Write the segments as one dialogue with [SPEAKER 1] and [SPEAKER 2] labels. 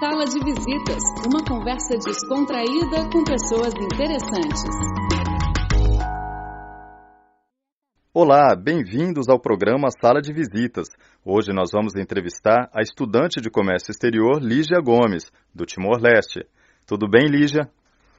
[SPEAKER 1] Sala de Visitas, uma conversa descontraída com pessoas interessantes.
[SPEAKER 2] Olá, bem-vindos ao programa Sala de Visitas. Hoje nós vamos entrevistar a estudante de comércio exterior Lígia Gomes, do Timor-Leste. Tudo bem, Lígia?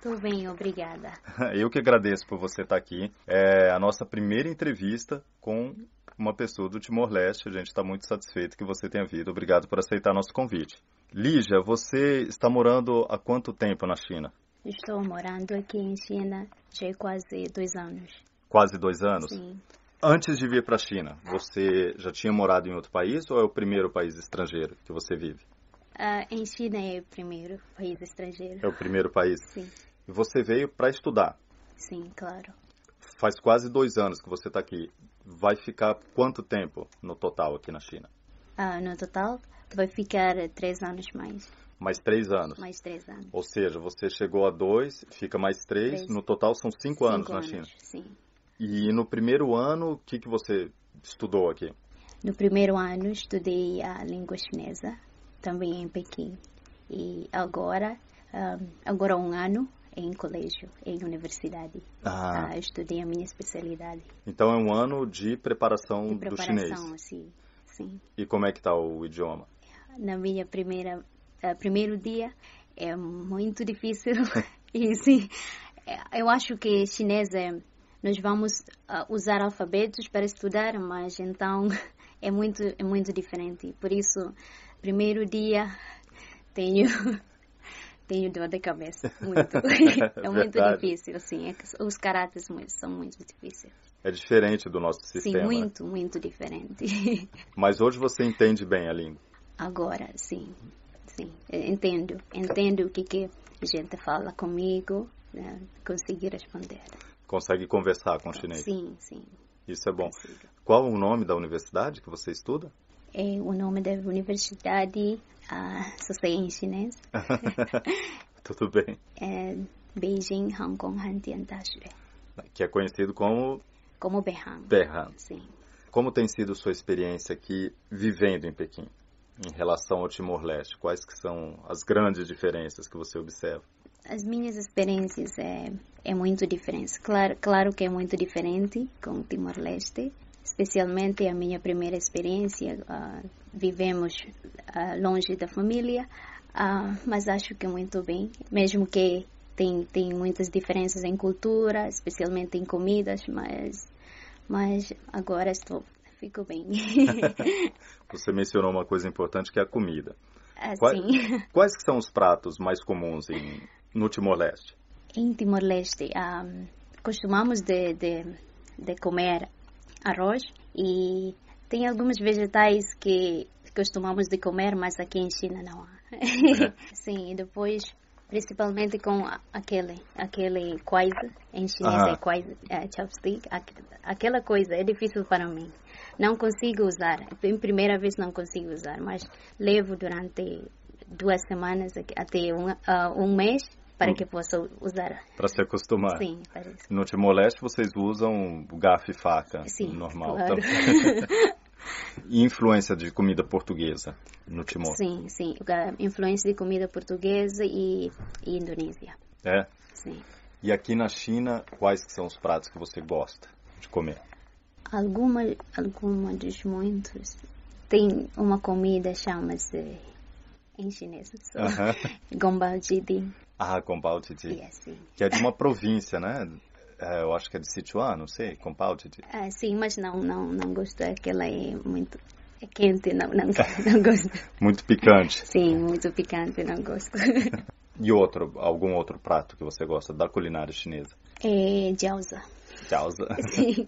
[SPEAKER 3] Tudo bem, obrigada.
[SPEAKER 2] Eu que agradeço por você estar aqui. É a nossa primeira entrevista com uma pessoa do Timor-Leste. A gente está muito satisfeito que você tenha vindo. Obrigado por aceitar nosso convite. Lígia, você está morando há quanto tempo na China?
[SPEAKER 3] Estou morando aqui em China já quase dois anos.
[SPEAKER 2] Quase dois anos?
[SPEAKER 3] Sim.
[SPEAKER 2] Antes de vir para a China, você já tinha morado em outro país ou é o primeiro país estrangeiro que você vive?
[SPEAKER 3] Ah, em China é o primeiro país estrangeiro.
[SPEAKER 2] É o primeiro país.
[SPEAKER 3] Sim,
[SPEAKER 2] E você veio para estudar.
[SPEAKER 3] sim, claro.
[SPEAKER 2] Faz quase dois anos que você está aqui. Vai ficar quanto tempo no total aqui na China?
[SPEAKER 3] Ah, no total, vai ficar três anos mais.
[SPEAKER 2] Mais três anos.
[SPEAKER 3] Mais três anos.
[SPEAKER 2] Ou seja, você chegou a dois, fica mais três.
[SPEAKER 3] Três.
[SPEAKER 2] No total são cinco, anos na China.
[SPEAKER 3] Sim.
[SPEAKER 2] E no primeiro ano, o que, que você estudou aqui?
[SPEAKER 3] No primeiro ano, estudei a língua chinesa, também em Pequim. E agora, ah, agora um ano em colégio, em universidade.
[SPEAKER 2] Ah.
[SPEAKER 3] Ah, estudei a minha especialidade
[SPEAKER 2] Então é um ano de preparação,
[SPEAKER 3] de
[SPEAKER 2] do
[SPEAKER 3] preparação,
[SPEAKER 2] chinês.
[SPEAKER 3] assim. Sim.
[SPEAKER 2] E como é que está o idioma?
[SPEAKER 3] na minha primeira eh, primeiro dia é muito difícil e sim eh, eu acho que chinês é nós vamos ah, usar alfabetos para estudar mas então é muito é muito diferente por isso primeiro dia tenho tenho dor de cabeça muito é muito
[SPEAKER 2] Verdade.
[SPEAKER 3] difícil assim é que os caracteres mu- são muito difíceis
[SPEAKER 2] É diferente do nosso sistema.
[SPEAKER 3] sim
[SPEAKER 2] né?
[SPEAKER 3] muito muito diferente
[SPEAKER 2] Mas hoje você entende bem a língua.
[SPEAKER 3] Agora, sim, sim, eh, entendo, entendo o que que a gente fala comigo, né? consegui responder.
[SPEAKER 2] Consegue conversar com o chinês.
[SPEAKER 3] Sim, sim.
[SPEAKER 2] Isso é bom.
[SPEAKER 3] consigo.
[SPEAKER 2] Qual o nome da universidade que você estuda?
[SPEAKER 3] É o nome da universidade, ah, só sei em chinês,
[SPEAKER 2] Tudo bem.
[SPEAKER 3] é Beijing Hong Kong Hantian Dashue,
[SPEAKER 2] Que é conhecido como
[SPEAKER 3] como Behan.
[SPEAKER 2] Berhan.
[SPEAKER 3] Sim.
[SPEAKER 2] Como tem sido sua experiência aqui vivendo em Pequim, em relação ao Timor-Leste? Quais que são as grandes diferenças que você observa?
[SPEAKER 3] As minhas experiências é, é muito diferente. Claro, claro que é muito diferente com o Timor-Leste, especialmente a minha primeira experiência. ah, vivemos ah, longe da família, ah, mas acho que muito bem, mesmo que tem, tem muitas diferenças em cultura, especialmente em comidas, mas, mas agora estou, fico bem.
[SPEAKER 2] Você mencionou uma coisa importante que é a comida. Qua-
[SPEAKER 3] assim.
[SPEAKER 2] Quais que são os pratos mais comuns em- no Timor-Leste?
[SPEAKER 3] Em Timor-Leste, ahm, um, costumamos de, de, de comer arroz e tem alguns vegetais que costumamos de comer, mas aqui em China não há. Sim, e depois, principalmente com a- aquele, aquele coisa, em chinês
[SPEAKER 2] Ah.
[SPEAKER 3] é coisa, é chopstick, aqu- aquela coisa é difícil para mim. Não consigo usar, em primeira vez não consigo usar, mas levo durante duas semanas aqui- até um, ah, um mês para que possa usar.
[SPEAKER 2] Para se acostumar.
[SPEAKER 3] Sim, parece.
[SPEAKER 2] No Timor-Leste vocês usam garfo e faca
[SPEAKER 3] Sim,
[SPEAKER 2] normal
[SPEAKER 3] claro.
[SPEAKER 2] também. e influência de comida portuguesa no Timor.
[SPEAKER 3] Sim, sim. a Influência de comida portuguesa e, e indonésia.
[SPEAKER 2] É?
[SPEAKER 3] Sim.
[SPEAKER 2] E aqui na China, quais que são os pratos que você gosta de comer?
[SPEAKER 3] Alguma, alguma dos muitos tem uma comida chama-se em chinês só.
[SPEAKER 2] Aham.
[SPEAKER 3] gombao jidin.
[SPEAKER 2] Ah, Combautiti.
[SPEAKER 3] E assim.
[SPEAKER 2] Que é de uma província, né? É, eu acho que é de Sichuan, não sei. Combautiti.
[SPEAKER 3] Ah, sim, mas não, não, não gosto. Aquela é muito é quente, não, não, não gosto.
[SPEAKER 2] Muito picante.
[SPEAKER 3] Sim, muito picante, não gosto.
[SPEAKER 2] E outro, algum outro prato que você gosta da culinária chinesa?
[SPEAKER 3] É jiaoza.
[SPEAKER 2] Causa.
[SPEAKER 3] Sim.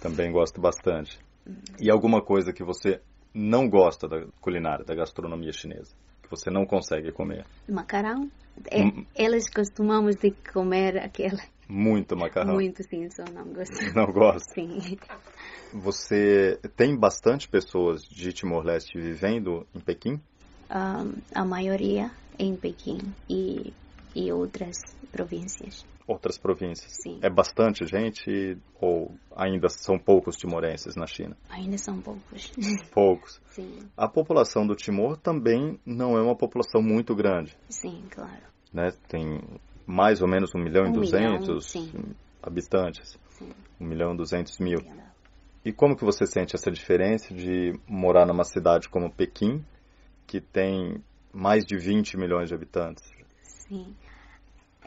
[SPEAKER 2] Também gosto bastante. E alguma coisa que você não gosta da culinária, da gastronomia chinesa? Que você não consegue comer?
[SPEAKER 3] Macarão. É,
[SPEAKER 2] Hum.
[SPEAKER 3] Eles costumamos de comer aquela.
[SPEAKER 2] Muito macarrão.
[SPEAKER 3] Muito sim, só não gosto.
[SPEAKER 2] Não gosto.
[SPEAKER 3] Sim.
[SPEAKER 2] Você tem bastante pessoas de Timor-Leste vivendo em Pequim?
[SPEAKER 3] Ah, a maioria em Pequim e, e outras províncias.
[SPEAKER 2] outras províncias?
[SPEAKER 3] Sim.
[SPEAKER 2] É bastante gente ou ainda são poucos timorenses na China?
[SPEAKER 3] Ainda são poucos.
[SPEAKER 2] Poucos.
[SPEAKER 3] Sim,
[SPEAKER 2] A população do Timor também não é uma população muito grande,
[SPEAKER 3] sim, claro.
[SPEAKER 2] né? Tem mais ou menos 1 milhão e
[SPEAKER 3] Um milhão,
[SPEAKER 2] 200
[SPEAKER 3] sim.
[SPEAKER 2] habitantes.
[SPEAKER 3] Sim.
[SPEAKER 2] 1 milhão e 200 mil.
[SPEAKER 3] Legal.
[SPEAKER 2] E como que você sente essa diferença de morar numa cidade como Pequim, que tem mais de 20 milhões de habitantes?
[SPEAKER 3] Sim.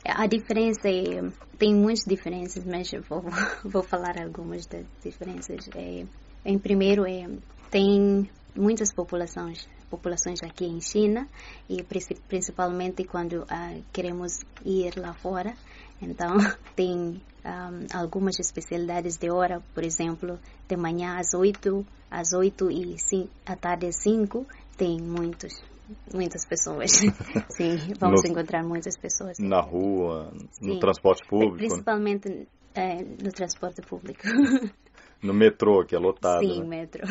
[SPEAKER 3] A diferença é. Tem muitas diferenças, mas eu vou, vou falar algumas das diferenças. É, em primeiro, é, tem muitas populações populações aqui em China e princi- principalmente quando ah, queremos ir lá fora então tem ah, algumas especialidades de hora por exemplo de manhã às 8 às 8 e cin- à tarde às 5 tem muitos muitas pessoas sim vamos
[SPEAKER 2] No-
[SPEAKER 3] encontrar muitas pessoas
[SPEAKER 2] Na rua, no
[SPEAKER 3] Sim. É
[SPEAKER 2] transporte público, né?
[SPEAKER 3] principalmente eh, no transporte público
[SPEAKER 2] no metrô, que é lotado,
[SPEAKER 3] sim
[SPEAKER 2] né?
[SPEAKER 3] metro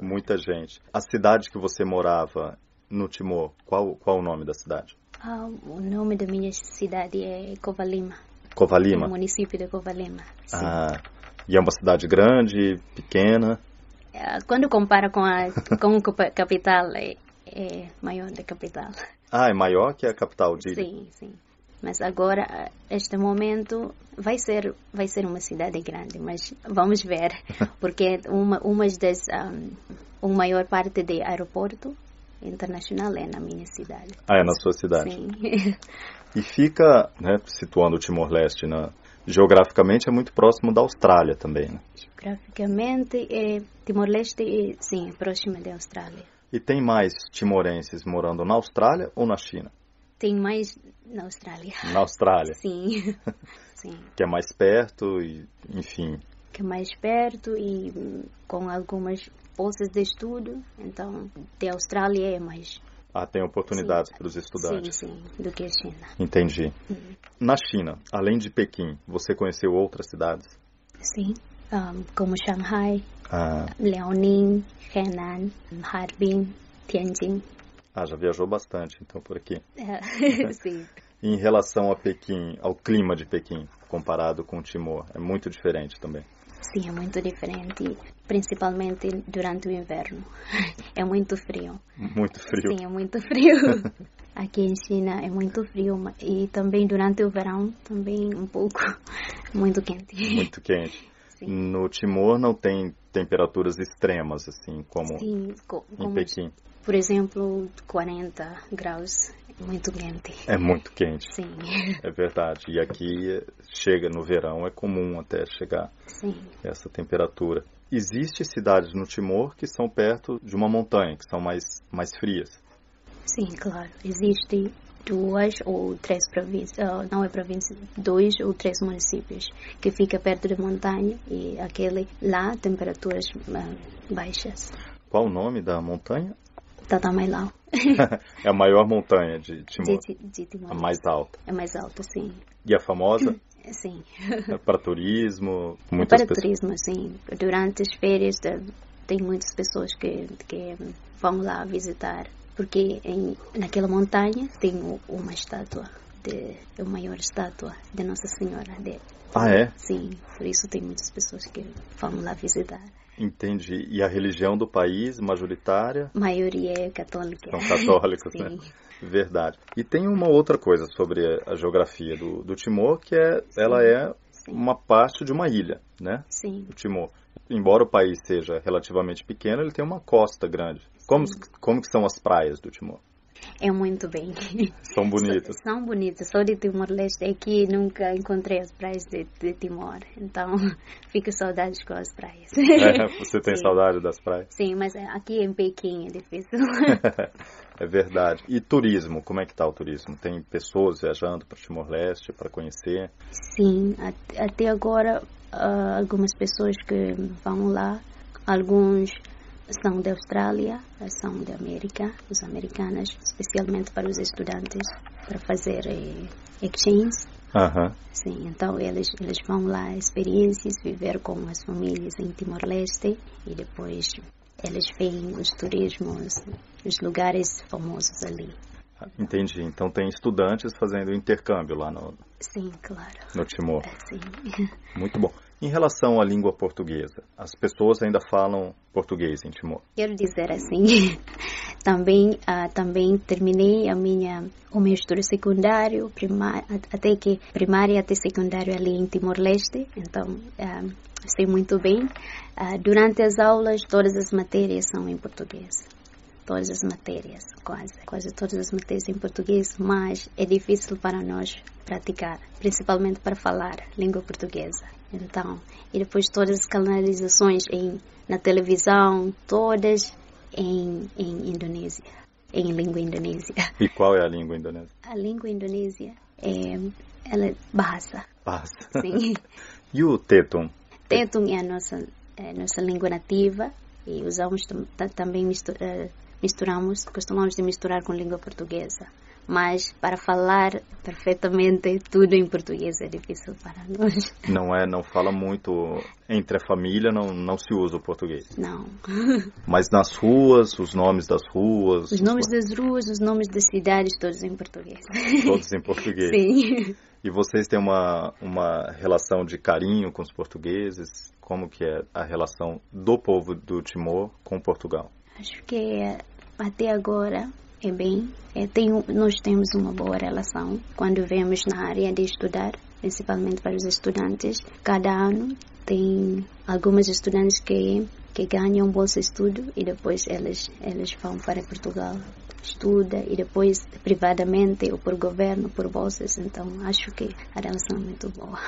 [SPEAKER 2] muita gente. A cidade que você morava no Timor, qual, qual o nome da cidade?
[SPEAKER 3] Ah, o nome da minha cidade é Covalima
[SPEAKER 2] Covalima?
[SPEAKER 3] No município de Covalema. Sim.
[SPEAKER 2] Ah, e é uma cidade grande, pequena,
[SPEAKER 3] Ah, Quando compara com a com o capa- capital, é, é maior da capital.
[SPEAKER 2] Ah, é maior que a capital de
[SPEAKER 3] Sim, sim. Mas agora, ah, este momento, vai ser vai ser uma cidade grande, mas vamos ver, porque uma uma das um, a maior parte de aeroporto internacional é na minha cidade.
[SPEAKER 2] Ah, é na sua cidade.
[SPEAKER 3] Sim,
[SPEAKER 2] E fica, né, situando o Timor-Leste na- geograficamente, é muito próximo da Austrália também, né?
[SPEAKER 3] geograficamente, é, Timor-Leste, é, sim, é próxima da Austrália.
[SPEAKER 2] E tem mais timorenses morando na Austrália ou na China?
[SPEAKER 3] Tem mais na Austrália.
[SPEAKER 2] Na Austrália,
[SPEAKER 3] Sim. Sim.
[SPEAKER 2] que é mais perto e, enfim,
[SPEAKER 3] Que é mais perto e hum, com algumas bolsas de estudo. Então, de Austrália é mais.
[SPEAKER 2] ah, tem oportunidades para os estudantes.
[SPEAKER 3] Sim, sim. Uhum. Do que a China.
[SPEAKER 2] Entendi. Na China, além de Pequim, você conheceu outras cidades?
[SPEAKER 3] Sim. Ahm, como Shanghai,
[SPEAKER 2] Ah,
[SPEAKER 3] Liaoning, Henan, Harbin, Tianjin.
[SPEAKER 2] ah, já viajou bastante, então, por aqui.
[SPEAKER 3] É, sim.
[SPEAKER 2] Em relação a Pequim, ao clima de Pequim, comparado com o Timor, é muito diferente também.
[SPEAKER 3] Sim, é muito diferente. Principalmente durante o inverno. É muito frio.
[SPEAKER 2] Muito frio.
[SPEAKER 3] Sim, é muito frio. Aqui em China é muito frio ma- e também durante o verão também um pouco muito quente.
[SPEAKER 2] muito quente.
[SPEAKER 3] Sim.
[SPEAKER 2] No Timor não tem temperaturas extremas, assim, como
[SPEAKER 3] Sim, co-
[SPEAKER 2] em
[SPEAKER 3] como,
[SPEAKER 2] Pequim.
[SPEAKER 3] por exemplo, 40 graus, é muito quente.
[SPEAKER 2] É muito quente,
[SPEAKER 3] Sim,
[SPEAKER 2] é verdade. E aqui eh, chega no verão, é comum até chegar
[SPEAKER 3] sim,
[SPEAKER 2] essa temperatura. Existem cidades no Timor que são perto de uma montanha, que são mais, mais frias.
[SPEAKER 3] sim, claro. Existem duas ou três províncias, ah, não é província, dois ou três municípios que fica perto da montanha e aquele lá temperaturas ah, baixas.
[SPEAKER 2] Qual o nome da montanha?
[SPEAKER 3] Tatamailau,
[SPEAKER 2] É a maior montanha de
[SPEAKER 3] de,
[SPEAKER 2] Timor,
[SPEAKER 3] de, de Timor.
[SPEAKER 2] a É mais alta.
[SPEAKER 3] É mais alto, sim.
[SPEAKER 2] E a famosa
[SPEAKER 3] Sim.
[SPEAKER 2] é para turismo, muitas
[SPEAKER 3] É Para
[SPEAKER 2] pessoas.
[SPEAKER 3] turismo, sim. Durante as férias eh, tem muitas pessoas que, que vão lá visitar. Porque em, naquela montanha tem u- uma estátua, de, a maior estátua de Nossa Senhora. De,
[SPEAKER 2] Ah, é?
[SPEAKER 3] Sim, por isso tem muitas pessoas que vão lá visitar.
[SPEAKER 2] Entendi. E a religião do país, majoritária,
[SPEAKER 3] A maioria é católica.
[SPEAKER 2] são católicos,
[SPEAKER 3] sim,
[SPEAKER 2] né? Verdade. E tem uma outra coisa sobre a geografia do, do Timor, que é ela é
[SPEAKER 3] sim,
[SPEAKER 2] uma parte de uma ilha, né?
[SPEAKER 3] sim.
[SPEAKER 2] O Timor. Embora o país seja relativamente pequeno, ele tem uma costa grande. Como, como que são as praias do Timor?
[SPEAKER 3] É muito bem.
[SPEAKER 2] São bonitas.
[SPEAKER 3] São, são bonitas. Sou de Timor-Leste aqui e nunca encontrei as praias de, de Timor. Então, fico saudades com as praias.
[SPEAKER 2] É, você tem
[SPEAKER 3] Sim.
[SPEAKER 2] saudade das praias?
[SPEAKER 3] Sim, mas é- aqui em Pequim é difícil.
[SPEAKER 2] É verdade. E turismo, como é que tá o turismo? Tem pessoas viajando para Timor-Leste para conhecer?
[SPEAKER 3] Sim, at- até agora ah, algumas pessoas que vão lá, alguns são da Austrália, são da América, os americanos, especialmente para os estudantes, para fazer eh, exchange.
[SPEAKER 2] Aham.
[SPEAKER 3] Sim, então eles, eles vão lá experiências, viver com as famílias em Timor-Leste e depois eles veem os turismos, os lugares famosos ali.
[SPEAKER 2] Entendi. Então tem estudantes fazendo intercâmbio lá no,
[SPEAKER 3] Sim, claro.
[SPEAKER 2] no Timor.
[SPEAKER 3] Sim.
[SPEAKER 2] Muito bom. Em relação à língua portuguesa, as pessoas ainda falam português em Timor.
[SPEAKER 3] Quero dizer assim, também, ah, também terminei a minha, o meu estudo secundário, primário, até que primária até secundário ali em Timor-Leste, então ah, sei muito bem. Ah, durante as aulas, todas as matérias são em português. Todas as matérias, quase, quase todas as matérias em português, mas é difícil para nós praticar, principalmente para falar língua portuguesa. Então, e depois todas as canalizações em, na televisão, todas em, em Indonésia, em língua indonésia.
[SPEAKER 2] E qual é a língua indonésia?
[SPEAKER 3] A língua indonésia é, ela é bahasa,
[SPEAKER 2] Passa.
[SPEAKER 3] sim.
[SPEAKER 2] E o tetum?
[SPEAKER 3] Tetum é a nossa, é a nossa língua nativa e usamos tam- ta- também mistu- eh, misturamos, costumamos de misturar com língua portuguesa. Mas para falar perfeitamente tudo em português é difícil para nós.
[SPEAKER 2] Não é, não fala muito entre a família, não, não se usa o português.
[SPEAKER 3] Não.
[SPEAKER 2] Mas nas ruas, os nomes das ruas,
[SPEAKER 3] Os nomes das ruas, os nomes das cidades, todos em português.
[SPEAKER 2] todos em português.
[SPEAKER 3] Sim.
[SPEAKER 2] E vocês têm uma, uma relação de carinho com os portugueses? Como que é a relação do povo do Timor com Portugal?
[SPEAKER 3] Acho que eh, até agora é bem. É, tem, um- nós temos uma boa relação quando vemos na área de estudar, principalmente para os estudantes. Cada ano tem algumas estudantes que que ganham um bolsa estudo e depois elas elas vão para Portugal estuda e depois privadamente ou por governo por bolsas então acho que a relação é muito boa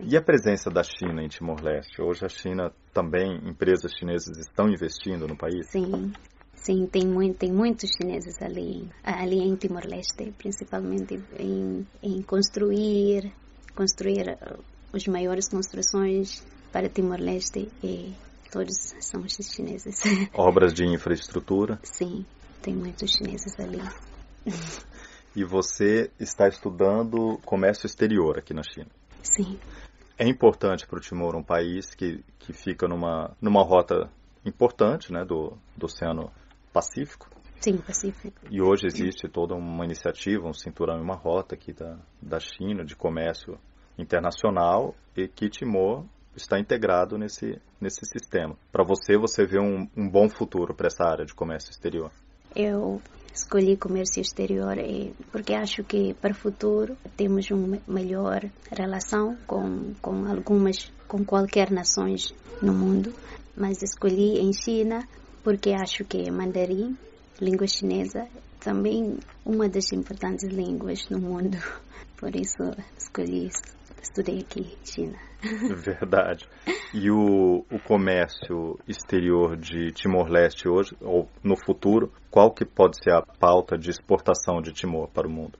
[SPEAKER 2] E a presença da China em Timor-Leste? Hoje a China também, empresas chinesas estão investindo no país?
[SPEAKER 3] Sim, sim, tem, muito, tem muitos chineses ali, ali em Timor-Leste, principalmente em, em construir, construir eh, as maiores construções para Timor-Leste e todos são chi- chineses.
[SPEAKER 2] Obras de infraestrutura?
[SPEAKER 3] Sim, tem muitos chineses ali.
[SPEAKER 2] E você está estudando comércio exterior aqui na China?
[SPEAKER 3] Sim,
[SPEAKER 2] É importante para o Timor um país que, que fica numa, numa rota importante né, do, do Oceano Pacífico.
[SPEAKER 3] sim, Pacífico.
[SPEAKER 2] E hoje existe toda uma iniciativa, um cinturão e uma rota aqui da, da China de comércio internacional e que Timor está integrado nesse, nesse sistema. Para você, você vê um, um bom futuro para essa área de comércio exterior.
[SPEAKER 3] Eu escolhi comércio exterior eh, porque acho que para o futuro temos uma melhor relação com, com algumas, com qualquer nações no mundo. Mas escolhi em China porque acho que mandarim, língua chinesa, também uma das importantes línguas no mundo. Por isso escolhi, estudei aqui, China.
[SPEAKER 2] Verdade. E o, o comércio exterior de Timor-Leste hoje, ou no futuro, qual que pode ser a pauta de exportação de Timor para o mundo?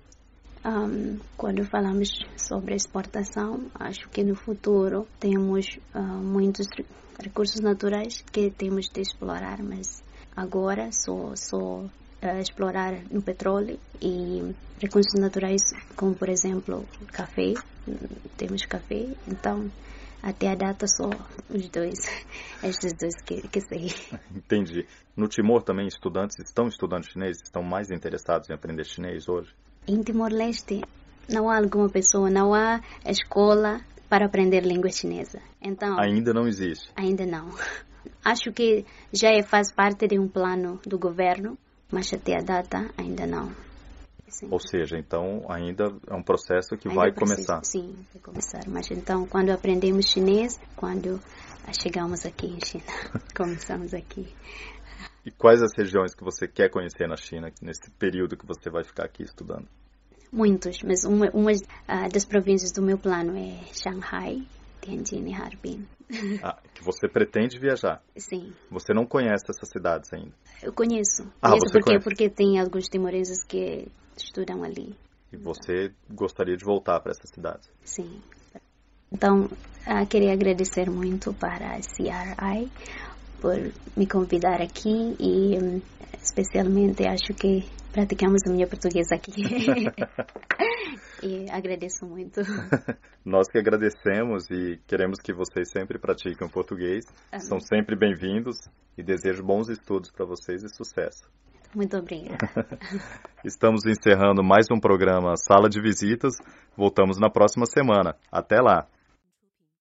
[SPEAKER 3] Ahm, quando falamos sobre exportação, acho que no futuro temos ah, muitos re- recursos naturais que temos de explorar, mas agora só, só ah, explorar no petróleo e recursos naturais como, por exemplo, café. Hum, Temos café, então até a data só os dois, estes dois que, que sei.
[SPEAKER 2] Entendi. No Timor também, estudantes estão estudando chinês? Estão mais interessados em aprender chinês hoje?
[SPEAKER 3] Em Timor-Leste, não há alguma pessoa, não há escola para aprender língua chinesa. Então,
[SPEAKER 2] Ainda não existe.
[SPEAKER 3] ainda não. Acho que já é- faz parte de um plano do governo, mas até a data ainda não. Sim.
[SPEAKER 2] Ou seja, então ainda é um processo que
[SPEAKER 3] Ainda
[SPEAKER 2] vai
[SPEAKER 3] precisa-
[SPEAKER 2] começar.
[SPEAKER 3] Sim, vai começar. Mas então, quando aprendemos chinês, quando ah, chegamos aqui em China, começamos aqui.
[SPEAKER 2] E quais as regiões que você quer conhecer na China nesse período que você vai ficar aqui estudando?
[SPEAKER 3] Muitos, mas uma, uma ah, das províncias do meu plano é Shanghai, Tianjin e Harbin.
[SPEAKER 2] Ah, que você pretende viajar.
[SPEAKER 3] Sim.
[SPEAKER 2] Você não conhece essas cidades ainda.
[SPEAKER 3] Eu conheço.
[SPEAKER 2] Ah,
[SPEAKER 3] conheço
[SPEAKER 2] você
[SPEAKER 3] porque,
[SPEAKER 2] conhece.
[SPEAKER 3] porque tem alguns timorenses que estudam ali.
[SPEAKER 2] E você gostaria de voltar para essas cidades.
[SPEAKER 3] Sim. Então, ah, queria agradecer muito para a CRI por me convidar aqui e hum, especialmente acho que praticamos a minha portuguesa aqui. e agradeço muito.
[SPEAKER 2] Nós que agradecemos e queremos que vocês sempre pratiquem o
[SPEAKER 3] É.
[SPEAKER 2] português. São sempre bem-vindos e desejo bons estudos para vocês e sucesso.
[SPEAKER 3] Muito obrigada.
[SPEAKER 2] Estamos encerrando mais um programa Sala de Visitas. Voltamos na próxima semana. Até lá!